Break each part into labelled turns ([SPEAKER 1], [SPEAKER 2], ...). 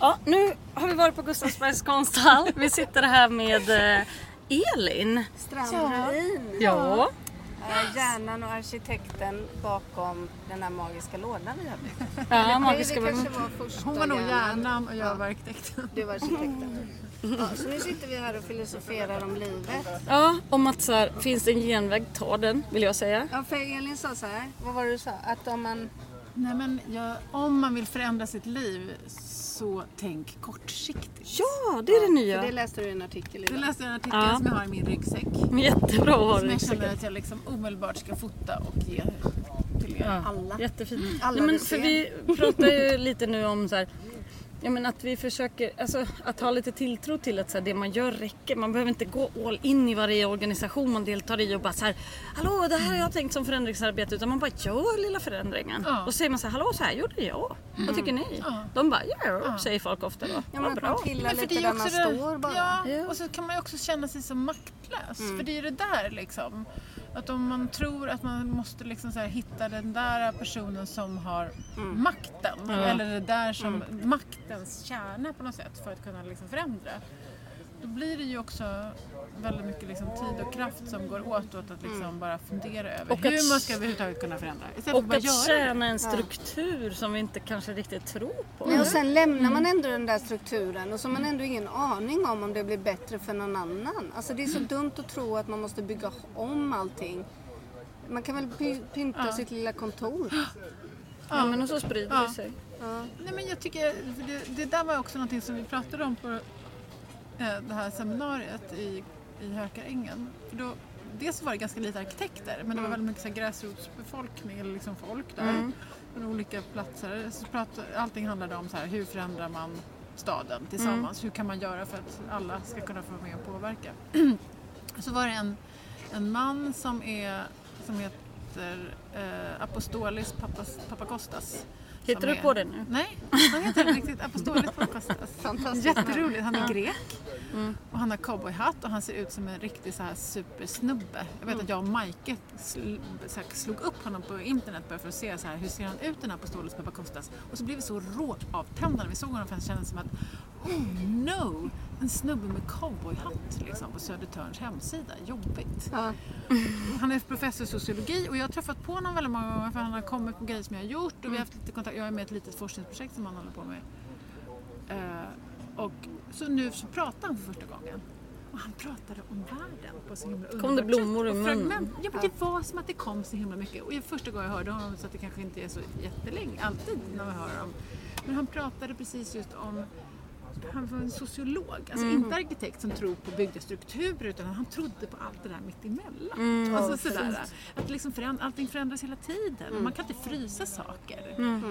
[SPEAKER 1] Ja, nu har vi varit på Gustavsbergs konsthall. Vi sitter här med eh, Elin.
[SPEAKER 2] Strandlin.
[SPEAKER 1] Ja.
[SPEAKER 2] Eh, Hjärnan och arkitekten bakom den här magiska lådan vi har byggt.
[SPEAKER 1] ja
[SPEAKER 2] det
[SPEAKER 1] magiska
[SPEAKER 2] kanske var första
[SPEAKER 3] Hon var nog
[SPEAKER 2] hjärnan.
[SPEAKER 3] hjärnan och jag var arkitekten.
[SPEAKER 2] Du var arkitekten. Ja, så nu sitter vi här och filosoferar om livet.
[SPEAKER 1] Ja, om att så här, finns det en genväg, ta den vill jag säga.
[SPEAKER 2] Ja, för Elin sa så här, vad var det du sa? Att om man...
[SPEAKER 3] Nej, men jag, om man vill förändra sitt liv så tänk kortsiktigt.
[SPEAKER 1] Ja, det är det
[SPEAKER 2] För det
[SPEAKER 1] nya.
[SPEAKER 2] läste du i en artikel
[SPEAKER 3] Det
[SPEAKER 2] idag.
[SPEAKER 3] läste jag i en artikel
[SPEAKER 1] Ja.
[SPEAKER 3] som jag har i min ryggsäck.
[SPEAKER 1] Jättebra att ha
[SPEAKER 3] Som
[SPEAKER 1] det.
[SPEAKER 3] jag känner att jag liksom omedelbart ska fota och ge till er.
[SPEAKER 2] Alla. Mm.
[SPEAKER 1] Jättefint.
[SPEAKER 2] Alla
[SPEAKER 1] Nej, men
[SPEAKER 2] du
[SPEAKER 1] för
[SPEAKER 2] ser.
[SPEAKER 1] vi pratar ju lite nu om så här, ja, men att vi försöker, alltså, att ha lite tilltro till att så här, det man gör räcker. Man behöver inte gå all in i varje organisation man deltar i och bara så här, hallå det här har jag tänkt som förändringsarbete. Utan man bara gör lilla förändringen.
[SPEAKER 3] Ja. Mm.
[SPEAKER 1] Och så säger man så här, hallå så här gjorde jag. Vad tycker ni?
[SPEAKER 3] Ja.
[SPEAKER 1] De bara, ja, säger folk ofta då.
[SPEAKER 2] Ja, men
[SPEAKER 1] Vad
[SPEAKER 2] att man
[SPEAKER 1] bra.
[SPEAKER 2] pillar
[SPEAKER 3] för
[SPEAKER 2] lite där man
[SPEAKER 3] det-
[SPEAKER 2] står bara. Mm.
[SPEAKER 3] Ja,
[SPEAKER 1] Ja.
[SPEAKER 3] och så kan man ju också känna sig så maktlös. För det är ju det där liksom. Att om man tror att man måste liksom så här hitta den där personen som har
[SPEAKER 2] Mm.
[SPEAKER 3] makten. Eller det där som maktens kärna på något sätt för att kunna liksom förändra. Då blir det ju också väldigt mycket liksom tid och kraft som går åt åt att liksom
[SPEAKER 2] Mm.
[SPEAKER 3] bara fundera över
[SPEAKER 1] Och
[SPEAKER 3] hur
[SPEAKER 1] att-
[SPEAKER 3] man ska överhuvudtaget kunna förändra. Istället för
[SPEAKER 1] Och
[SPEAKER 3] bara
[SPEAKER 1] att
[SPEAKER 3] göra det.
[SPEAKER 1] tjäna en struktur som vi inte kanske riktigt tror på.
[SPEAKER 3] Mm.
[SPEAKER 2] Ja, och sen lämnar man ändå den där strukturen och så har man ändå ingen aning om om det blir bättre för någon annan. Alltså det är så
[SPEAKER 3] Mm.
[SPEAKER 2] dumt att tro att man måste bygga om allting. Man kan väl py- pynta sitt lilla kontor.
[SPEAKER 1] Ja, men och så sprider
[SPEAKER 3] Ja.
[SPEAKER 1] det sig.
[SPEAKER 3] Nej, men jag tycker, för det, det där var också någonting som vi pratade om på eh, det här seminariet i, i Hökarängen. För då, dels var det ganska lite arkitekter, men det
[SPEAKER 1] Mm.
[SPEAKER 3] var väldigt mycket så här, gräsrotsbefolkning, eller liksom folk där, från olika platser. Så pratade, allting handlade om så här, hur förändrar man staden tillsammans?
[SPEAKER 1] Mm.
[SPEAKER 3] Hur kan man göra för att alla ska kunna få vara med och påverka? Så var det en, en man som, är, som heter eh, Apostolis Papas, Papakostas.
[SPEAKER 1] Hittar
[SPEAKER 3] som
[SPEAKER 1] du
[SPEAKER 3] är-
[SPEAKER 1] på det nu?
[SPEAKER 3] Nej, han heter riktigt Apostolis Papakostas.
[SPEAKER 2] Fantastiskt.
[SPEAKER 3] Jätteroligt, han är grek. Och han har cowboyhatt och han ser ut som en riktig så här supersnubbe. Jag vet att jag och Majke sl- så här slog upp honom på internet bara för att se så här, hur ser han ut den här Apostolis Papakostas. Och så blev vi så råavtända när vi såg honom för han kändes som att oh no, en snubbe med cowboyhatt liksom, på Södertörns hemsida. Jobbigt.
[SPEAKER 2] Ja.
[SPEAKER 3] Han är professor i sociologi och jag har träffat på honom väldigt många gånger för han har kommit på grejer som jag har gjort
[SPEAKER 1] Mm.
[SPEAKER 3] och vi har haft lite kontakt. Jag är med i ett litet forskningsprojekt som han håller på med. Eh, och så nu så pratar han för första gången. Och han pratade om världen på så himla
[SPEAKER 1] Kom det
[SPEAKER 3] underbart
[SPEAKER 1] blommor
[SPEAKER 3] sätt. Och
[SPEAKER 1] ur
[SPEAKER 3] fragment.
[SPEAKER 1] munnen?
[SPEAKER 3] Ja, men det var som att det kom så himla mycket. Och första gången jag hörde honom så att det kanske inte är så jättelänge, alltid när man hör honom. Men han pratade precis just om han var en sociolog, alltså
[SPEAKER 1] Mm.
[SPEAKER 3] inte arkitekt som tror på byggda strukturer utan han trodde på allt det där mittemellan.
[SPEAKER 1] Mm,
[SPEAKER 3] alltså sådär, att liksom föränd- allting förändras hela tiden.
[SPEAKER 1] Mm.
[SPEAKER 3] Man kan inte frysa saker.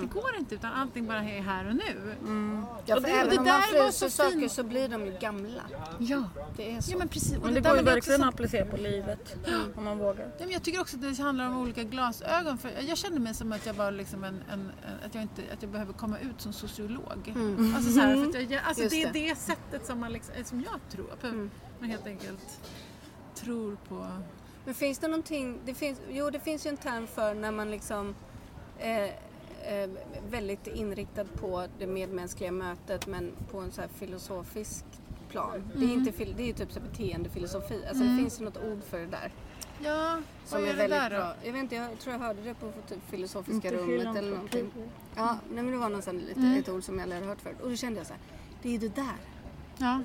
[SPEAKER 3] Det går inte utan allting bara är här och nu.
[SPEAKER 1] Mm.
[SPEAKER 2] Ja,
[SPEAKER 3] Och
[SPEAKER 2] för
[SPEAKER 3] det-
[SPEAKER 2] även
[SPEAKER 3] det
[SPEAKER 2] om
[SPEAKER 3] där
[SPEAKER 2] man
[SPEAKER 3] var
[SPEAKER 2] fryser
[SPEAKER 3] så
[SPEAKER 2] saker
[SPEAKER 3] fint.
[SPEAKER 2] så blir de ju gamla.
[SPEAKER 3] Ja.
[SPEAKER 2] Det är så.
[SPEAKER 3] ja, men precis. Och
[SPEAKER 1] Men det går
[SPEAKER 3] där var
[SPEAKER 1] ju
[SPEAKER 3] också
[SPEAKER 1] verkligen
[SPEAKER 3] så-
[SPEAKER 1] att applicera på livet om man vågar.
[SPEAKER 3] Ja, men jag tycker också att det handlar om olika glasögon. För jag kände mig som att jag var liksom en, en, en att, jag inte, att jag behöver komma ut som sociolog. Alltså, så här, för att jag,
[SPEAKER 2] Mm.
[SPEAKER 3] alltså
[SPEAKER 2] Just
[SPEAKER 3] det är
[SPEAKER 2] det. Mm.
[SPEAKER 3] det sättet som, man liksom, som jag tror på. Man helt enkelt tror på...
[SPEAKER 2] Men finns det någonting, det finns, jo det finns ju en term för när man liksom eh, eh, väldigt inriktad på det medmänskliga mötet men på en så här filosofisk plan. Det, är
[SPEAKER 3] Mm.
[SPEAKER 2] inte, fil- det är ju typ så här beteendefilosofi, alltså det finns ju något ord för det där.
[SPEAKER 3] Ja, Mm. vad är, det
[SPEAKER 2] väldigt
[SPEAKER 3] där då?
[SPEAKER 2] bra. Jag vet inte, jag tror jag hörde det på typ filosofiska
[SPEAKER 1] Inte
[SPEAKER 2] rummet eller
[SPEAKER 1] filantropi.
[SPEAKER 2] någonting. Ja, nej, men det var någon sån, lite,
[SPEAKER 3] Mm.
[SPEAKER 2] ett ord som jag aldrig hade hört förut och då kände jag så här, det är ju det där.
[SPEAKER 3] Ja.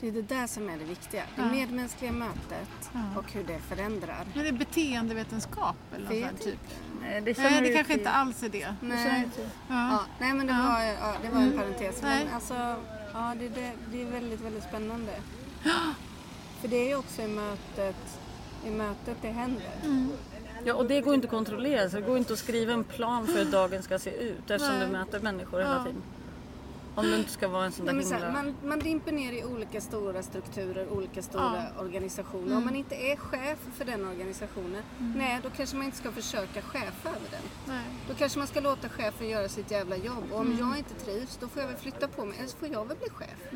[SPEAKER 2] Det är det där som är det viktiga. Det
[SPEAKER 3] Ja.
[SPEAKER 2] medmänskliga mötet
[SPEAKER 3] Ja.
[SPEAKER 2] och hur det förändrar.
[SPEAKER 3] Men det är beteendevetenskap eller något
[SPEAKER 2] Vet
[SPEAKER 3] sånt här, typ?
[SPEAKER 1] Nej, det,
[SPEAKER 3] Nej, det kanske inte alls är det.
[SPEAKER 2] Nej.
[SPEAKER 3] Ja.
[SPEAKER 2] Ja, nej men det,
[SPEAKER 3] Ja. Mm.
[SPEAKER 2] var, ja, det var en parentes.
[SPEAKER 3] Nej.
[SPEAKER 2] Men alltså, ja, det, det, det är väldigt, väldigt spännande. För det är ju också i mötet, i mötet det händer.
[SPEAKER 3] Mm.
[SPEAKER 1] Ja, och det går inte att kontrollera. Så det går inte att skriva en plan för hur dagen ska se ut eftersom
[SPEAKER 3] Nej.
[SPEAKER 1] du möter människor hela
[SPEAKER 3] Ja.
[SPEAKER 1] tiden. Om du inte ska vara en sån där
[SPEAKER 2] Nej, men så
[SPEAKER 1] himla...
[SPEAKER 2] här, man, man dimper ner i olika stora strukturer, olika stora organisationer.
[SPEAKER 3] Mm.
[SPEAKER 2] Om man inte är chef för den organisationen, nej då kanske man inte ska försöka chefa över den.
[SPEAKER 3] Nej.
[SPEAKER 2] Då kanske man ska låta chefen göra sitt jävla jobb. Och om
[SPEAKER 3] Mm.
[SPEAKER 2] jag inte trivs, då får jag väl flytta på mig. Eller så får jag väl bli chef.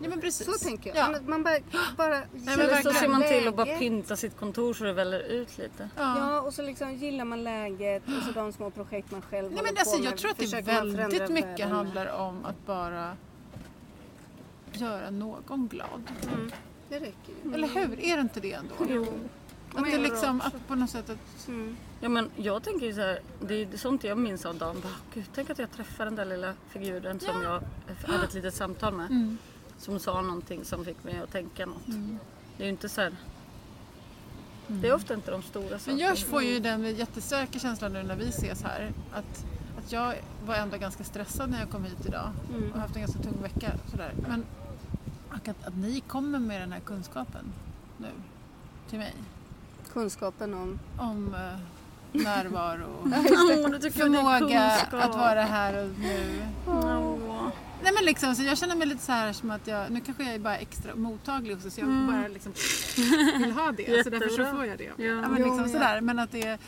[SPEAKER 3] Ja, men precis.
[SPEAKER 2] Så tänker jag.
[SPEAKER 3] Ja.
[SPEAKER 2] Man- Man bara... bara
[SPEAKER 3] men
[SPEAKER 1] Eller så
[SPEAKER 3] verkligen.
[SPEAKER 1] ser man till att bara
[SPEAKER 2] Läget.
[SPEAKER 1] pynta sitt kontor så det väller ut lite.
[SPEAKER 3] Ja.
[SPEAKER 2] Ja, och så liksom gillar man läget och så de små projekt man själv
[SPEAKER 3] Nej, men
[SPEAKER 2] håller
[SPEAKER 3] alltså,
[SPEAKER 2] på
[SPEAKER 3] jag
[SPEAKER 2] med,
[SPEAKER 3] tror att det
[SPEAKER 2] försöker man förändra
[SPEAKER 3] väldigt mycket
[SPEAKER 2] världen.
[SPEAKER 3] handlar om att bara göra någon glad.
[SPEAKER 2] Mm. Det räcker ju.
[SPEAKER 3] Eller hur? Är det inte det ändå? Att det
[SPEAKER 2] Mm. men-
[SPEAKER 3] liksom, att på något sätt att...
[SPEAKER 2] Mm.
[SPEAKER 1] Ja, men jag tänker ju så här, det är sånt jag minns av dagen. Bara, Gud, tänk att jag träffade den där lilla figuren som jag hade ett litet samtal med.
[SPEAKER 3] Mm.
[SPEAKER 1] Som sa någonting som fick mig att tänka något. Det är ju inte så här... Det är ofta inte de stora
[SPEAKER 3] Mm. Men
[SPEAKER 1] sakerna.
[SPEAKER 3] jag får ju den jättestarka känslan nu när vi ses här. Att, att jag var ändå ganska stressad när jag kom hit idag.
[SPEAKER 2] Mm.
[SPEAKER 3] Och haft en ganska tung vecka. Sådär. Men och att, att ni kommer med den här kunskapen nu till mig.
[SPEAKER 2] Kunskapen om...
[SPEAKER 3] Om eh, närvaro och
[SPEAKER 1] Åh, du tycker om din
[SPEAKER 3] förmåga
[SPEAKER 1] kunskap.
[SPEAKER 3] att vara här och nu.
[SPEAKER 1] Åh.
[SPEAKER 3] Nej men liksom, så jag känner mig lite så här som att jag, nu kanske jag är bara extra mottaglig också så jag bara liksom vill ha det. så därför så
[SPEAKER 1] Jättebra.
[SPEAKER 3] får jag det. Ja.
[SPEAKER 1] Ja.
[SPEAKER 3] men
[SPEAKER 2] Jo,
[SPEAKER 3] liksom
[SPEAKER 2] ja.
[SPEAKER 3] sådär. Men att det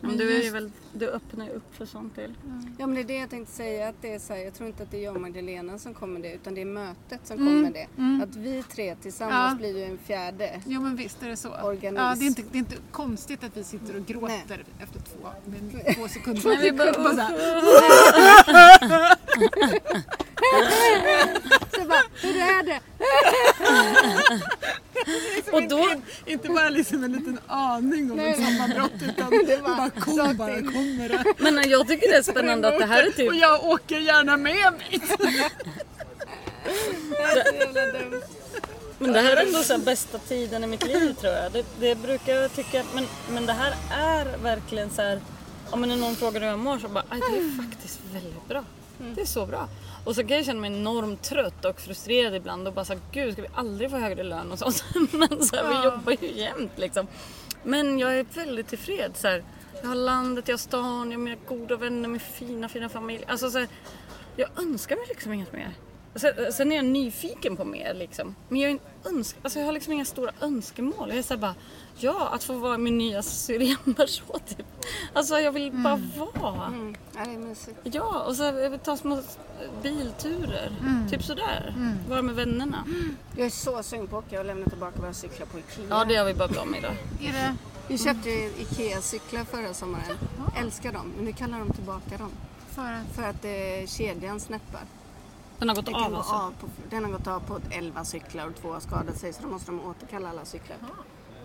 [SPEAKER 1] Men du, är ju
[SPEAKER 3] just-
[SPEAKER 1] väl, du öppnar ju upp för sånt till.
[SPEAKER 2] Ja men det är det jag tänkte säga. Att det är så här, jag tror inte att det är jag och Magdalena som kommer det utan det är mötet som
[SPEAKER 3] Mm,
[SPEAKER 2] kommer det.
[SPEAKER 3] mm.
[SPEAKER 2] Att vi tre tillsammans
[SPEAKER 3] Ja.
[SPEAKER 2] blir ju en fjärde.
[SPEAKER 3] Jo men visst är det så.
[SPEAKER 2] Organism.
[SPEAKER 3] Ja, det, är inte, det är inte konstigt att vi sitter och gråter efter två, min, två sekunder.
[SPEAKER 1] Nej, vi bara,
[SPEAKER 3] Bara så här,
[SPEAKER 2] Så bara, hur är det?
[SPEAKER 3] Alltså,
[SPEAKER 1] och då,
[SPEAKER 3] inte bara liksom en liten aning om
[SPEAKER 2] Nej.
[SPEAKER 3] ett sammanbrott utan
[SPEAKER 2] Det var
[SPEAKER 3] bara kom
[SPEAKER 2] saker.
[SPEAKER 3] bara kommer det.
[SPEAKER 1] men jag tycker det är spännande att det här är
[SPEAKER 3] Och
[SPEAKER 1] typ...
[SPEAKER 3] jag åker gärna med mig.
[SPEAKER 2] Det är så jävla dumt.
[SPEAKER 1] Men det här är ändå så här bästa tiden i mitt liv tror jag. Det, det brukar jag tycka. Men, men det här är verkligen så här. Om när någon frågar hur jag mår så bara, "Aj, det är faktiskt väldigt bra. Det är så bra. Och så kan jag känna mig enormt trött och frustrerad ibland och bara så här, gud ska vi aldrig få högre lön och sånt. Men så här, vi jobbar ju jämt liksom. Men jag är väldigt tillfreds så här. Jag har landet, jag har stan, jag har mina goda vänner, min fina fina familj. Alltså så här, jag önskar mig liksom inget mer. Sen, sen är jag nyfiken på mer liksom. Men jag, är en önsk, alltså jag har liksom inga stora önskemål. Jag är såhär bara, ja att få vara min nya syrenberså typ. Alltså jag vill bara vara.
[SPEAKER 2] Mm. Ja, det är mysigt.
[SPEAKER 1] Ja, och så här, jag vill ta små bilturer.
[SPEAKER 2] Mm.
[SPEAKER 1] Typ sådär. Vara med vännerna.
[SPEAKER 2] Jag är så sugen på att åka och lämna tillbaka våra cyklar på Ikea.
[SPEAKER 1] Ja, det har vi babblat om idag.
[SPEAKER 3] Är det,
[SPEAKER 2] Vi köpte ju Ikea-cyklar förra sommaren. Älskar dem, men nu kallar de tillbaka dem.
[SPEAKER 3] för att,
[SPEAKER 2] För att eh, kedjan snäppar.
[SPEAKER 1] Den har gått
[SPEAKER 2] Den, kan
[SPEAKER 1] av
[SPEAKER 2] gå
[SPEAKER 1] alltså.
[SPEAKER 2] av på, den har gått av på 11 cyklar och två har skadat sig så då måste de återkalla alla cyklar.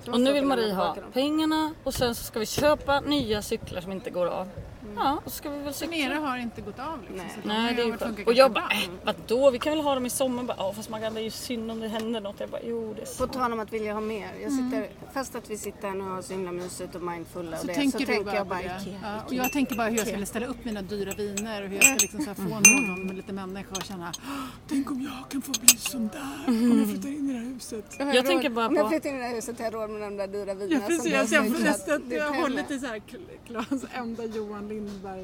[SPEAKER 2] Så
[SPEAKER 1] Och
[SPEAKER 2] måste
[SPEAKER 1] nu
[SPEAKER 2] de
[SPEAKER 1] vill
[SPEAKER 2] lämna
[SPEAKER 1] Marie ha
[SPEAKER 2] tillbaka dem.
[SPEAKER 1] pengarna och sen så ska vi köpa nya cyklar som inte går av.
[SPEAKER 2] Mm.
[SPEAKER 1] Ja, och så ska vi väl
[SPEAKER 3] men
[SPEAKER 1] cykla.
[SPEAKER 3] era har inte gått av liksom.
[SPEAKER 2] Nej.
[SPEAKER 3] så de har
[SPEAKER 1] Nej, det är ju
[SPEAKER 3] varit
[SPEAKER 1] skönt.
[SPEAKER 3] funkat
[SPEAKER 1] Och jag bara,
[SPEAKER 3] ganska bra.
[SPEAKER 1] äh, vadå? Vi kan väl ha dem i sommar? Bara, Ja, fast Maggan, det är ju synd om det händer något. Jag bara, jo det är
[SPEAKER 2] På
[SPEAKER 1] sant.
[SPEAKER 2] tal om att vilja ha mer. Jag sitter, Fast att vi sitter här nu och har så himla mysigt och mindfulla
[SPEAKER 3] Mm. Så
[SPEAKER 2] och det,
[SPEAKER 3] tänker
[SPEAKER 2] så
[SPEAKER 3] du
[SPEAKER 2] tänker
[SPEAKER 3] bara,
[SPEAKER 2] jag
[SPEAKER 3] på
[SPEAKER 2] bara
[SPEAKER 3] det.
[SPEAKER 2] Ikea.
[SPEAKER 3] ja, och jag tänker bara hur jag skulle ställa upp mina dyra viner och hur jag ska liksom så här få någon med lite människa och känna "Åh, Tänk om jag kan få bli som där om jag flyttar in i det här huset.
[SPEAKER 2] Har
[SPEAKER 1] Jag
[SPEAKER 2] råd-
[SPEAKER 1] tänker bara
[SPEAKER 2] Om jag
[SPEAKER 1] på-
[SPEAKER 2] flyttar in i det här huset har jag råd med de där dyra
[SPEAKER 3] Ja,
[SPEAKER 2] vinerna
[SPEAKER 3] precis,
[SPEAKER 2] du har
[SPEAKER 3] jag ser
[SPEAKER 2] smugglat
[SPEAKER 3] förresten att
[SPEAKER 2] ditt
[SPEAKER 3] jag
[SPEAKER 2] hem
[SPEAKER 3] håller
[SPEAKER 2] med.
[SPEAKER 3] till så här Kl- Claes enda Johan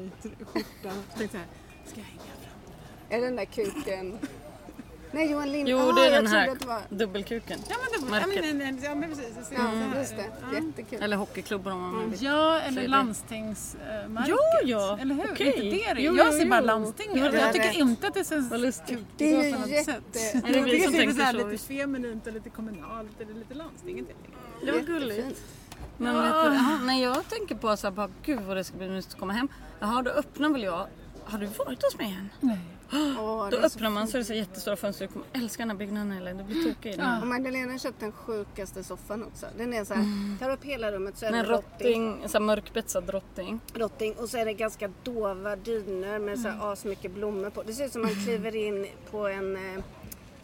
[SPEAKER 3] Lindberg-skjorta. Tänkte så här, ska jag hänga fram?
[SPEAKER 2] Är det den där kuken? Nej, Johan Lind.
[SPEAKER 1] Jo,
[SPEAKER 2] Ah,
[SPEAKER 1] det är
[SPEAKER 2] jag
[SPEAKER 1] den
[SPEAKER 2] trodde
[SPEAKER 1] här
[SPEAKER 2] Att det var...
[SPEAKER 1] dubbelkuken.
[SPEAKER 3] Ja men, det, ja,
[SPEAKER 1] Märket.
[SPEAKER 3] men, nej, nej, ja, men precis, jag ser
[SPEAKER 2] Ja,
[SPEAKER 3] så här.
[SPEAKER 2] Mm. just det.
[SPEAKER 3] Mm.
[SPEAKER 2] Jättekul.
[SPEAKER 1] Eller hockeyklubban om
[SPEAKER 2] Mm.
[SPEAKER 1] man vill.
[SPEAKER 3] Ja,
[SPEAKER 1] Så är
[SPEAKER 3] eller
[SPEAKER 1] det.
[SPEAKER 3] landstingsmärket.
[SPEAKER 1] Ja, ja.
[SPEAKER 3] Eller hur?
[SPEAKER 1] Okej.
[SPEAKER 3] Inte det det är.
[SPEAKER 1] Jo,
[SPEAKER 3] Jag
[SPEAKER 1] jo,
[SPEAKER 3] ser bara
[SPEAKER 1] jo.
[SPEAKER 3] landstinget.
[SPEAKER 1] Du har
[SPEAKER 2] rätt.
[SPEAKER 3] jag tycker inte att det
[SPEAKER 1] Vad
[SPEAKER 3] känns
[SPEAKER 1] lustigt.
[SPEAKER 2] Det är
[SPEAKER 3] på
[SPEAKER 2] ju
[SPEAKER 3] något
[SPEAKER 2] jätte-
[SPEAKER 3] sätt.
[SPEAKER 2] Är
[SPEAKER 1] det vi
[SPEAKER 3] tycker
[SPEAKER 1] som
[SPEAKER 3] det är
[SPEAKER 1] tänker
[SPEAKER 3] så här
[SPEAKER 1] så?
[SPEAKER 3] lite feminint och lite kommunalt eller lite landstinget. helt enkelt.
[SPEAKER 1] Det var gulligt. Men vet du, aha, när jag tänker på så här, bara, gud vad det ska bli mysigt att komma hem. Jaha, då öppnar väl jag. Har du varit hos mig än?
[SPEAKER 2] Åh,
[SPEAKER 1] Då
[SPEAKER 2] det är så
[SPEAKER 1] öppnar man så är det så jättestora fönster. Du kommer älska den här byggnaden eller du blir tokig i den.
[SPEAKER 2] Och Magdalena köpte den sjukaste soffan också. Den är så här, tar upp hela rummet så är det
[SPEAKER 1] En
[SPEAKER 2] rotting,
[SPEAKER 1] Mm. rotting, en så här mörkbetsad rotting.
[SPEAKER 2] rotting och så är det ganska dova dynor med så
[SPEAKER 1] Mm.
[SPEAKER 2] här asmycket blommor på. Det ser ut som man kliver in på en, eh,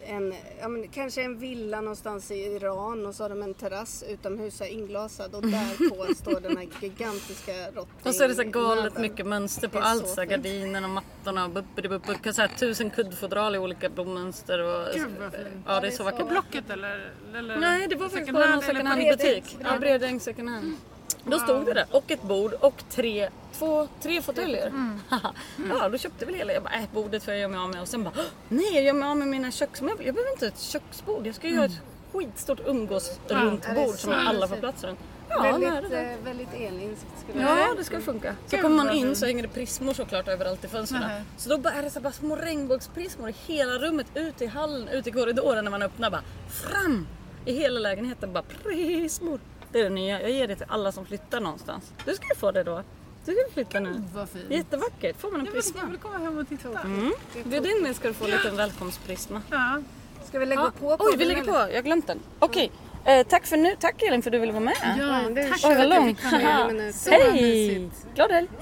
[SPEAKER 2] en ja, men kanske en villa någonstans i Iran och så har de en terrass utomhus så här inglasad och där på står den här gigantiska rotting.
[SPEAKER 1] Och så är det så här galet
[SPEAKER 2] naveln.
[SPEAKER 1] mycket mönster på
[SPEAKER 2] Det är
[SPEAKER 1] allt.
[SPEAKER 2] så
[SPEAKER 1] Så här,
[SPEAKER 2] fint.
[SPEAKER 1] gardinerna och mattorna och bubbidi-bubbi. Så här, tusen kuddfodral i olika blommönster. Och,
[SPEAKER 3] Gud, vad fint.
[SPEAKER 1] Ja, det är så vackert.
[SPEAKER 3] Blocket eller? eller
[SPEAKER 1] Nej, det var faktiskt
[SPEAKER 3] second
[SPEAKER 1] bara någon
[SPEAKER 3] hand eller
[SPEAKER 1] second
[SPEAKER 2] Bredäng.
[SPEAKER 1] hand-butik. Ja, Bredäng second hand. Då stod det där. Och ett bord och tre, två, tre fåtöljer. ja, då köpte vi det hela. Jag bara, äh, bordet får jag göra mig av med. Och sen bara, "Åh, nej, jag gör mig av med mina köksmöbler. Jag behöver inte ett köksbord. Jag ska ju ha ett skitstort umgås runt
[SPEAKER 2] Ja, det är
[SPEAKER 1] bord som
[SPEAKER 2] så
[SPEAKER 1] alla får
[SPEAKER 2] mysigt.
[SPEAKER 1] plats runt. Ja, nära
[SPEAKER 2] Väldigt,
[SPEAKER 1] det.
[SPEAKER 2] eh, väldigt elinskt skulle jag
[SPEAKER 1] Ja,
[SPEAKER 2] säga.
[SPEAKER 1] det ska funka. Så
[SPEAKER 3] Gud,
[SPEAKER 1] kommer man
[SPEAKER 3] vad
[SPEAKER 1] in
[SPEAKER 3] fint.
[SPEAKER 1] så hänger det prismor såklart överallt i fönstren.
[SPEAKER 3] Nähä.
[SPEAKER 1] Så då bara är det så bara små regnbågsprismor i hela rummet, ut i hallen, ut i korridoren när man öppnar. Bara fram! I hela lägenheten bara prismor. Det är det nya. Jag ger det till alla som flyttar någonstans. Du ska ju få det då. Du ska ju flytta nu.
[SPEAKER 3] Vad fint.
[SPEAKER 1] Jättevackert. Får man en
[SPEAKER 3] Jag vill, jag
[SPEAKER 1] prisma?
[SPEAKER 3] vill komma hem och titta.
[SPEAKER 1] Mm. Bjud in mig ska du få en liten välkomstprisma.
[SPEAKER 3] Ja.
[SPEAKER 2] Ska vi lägga
[SPEAKER 1] Ja.
[SPEAKER 2] på podden?
[SPEAKER 1] Oj, vi lägger på.
[SPEAKER 2] eller?
[SPEAKER 1] Jag har glömt den. Okej. Eh, tack för nu. Tack Elin för att du ville vara med.
[SPEAKER 3] Ja,
[SPEAKER 4] det
[SPEAKER 3] tack.
[SPEAKER 4] kör
[SPEAKER 1] vad
[SPEAKER 4] att jag
[SPEAKER 1] långt.
[SPEAKER 4] fick vara med i minuter.
[SPEAKER 1] Hej!
[SPEAKER 3] mysigt.
[SPEAKER 1] Glad helg!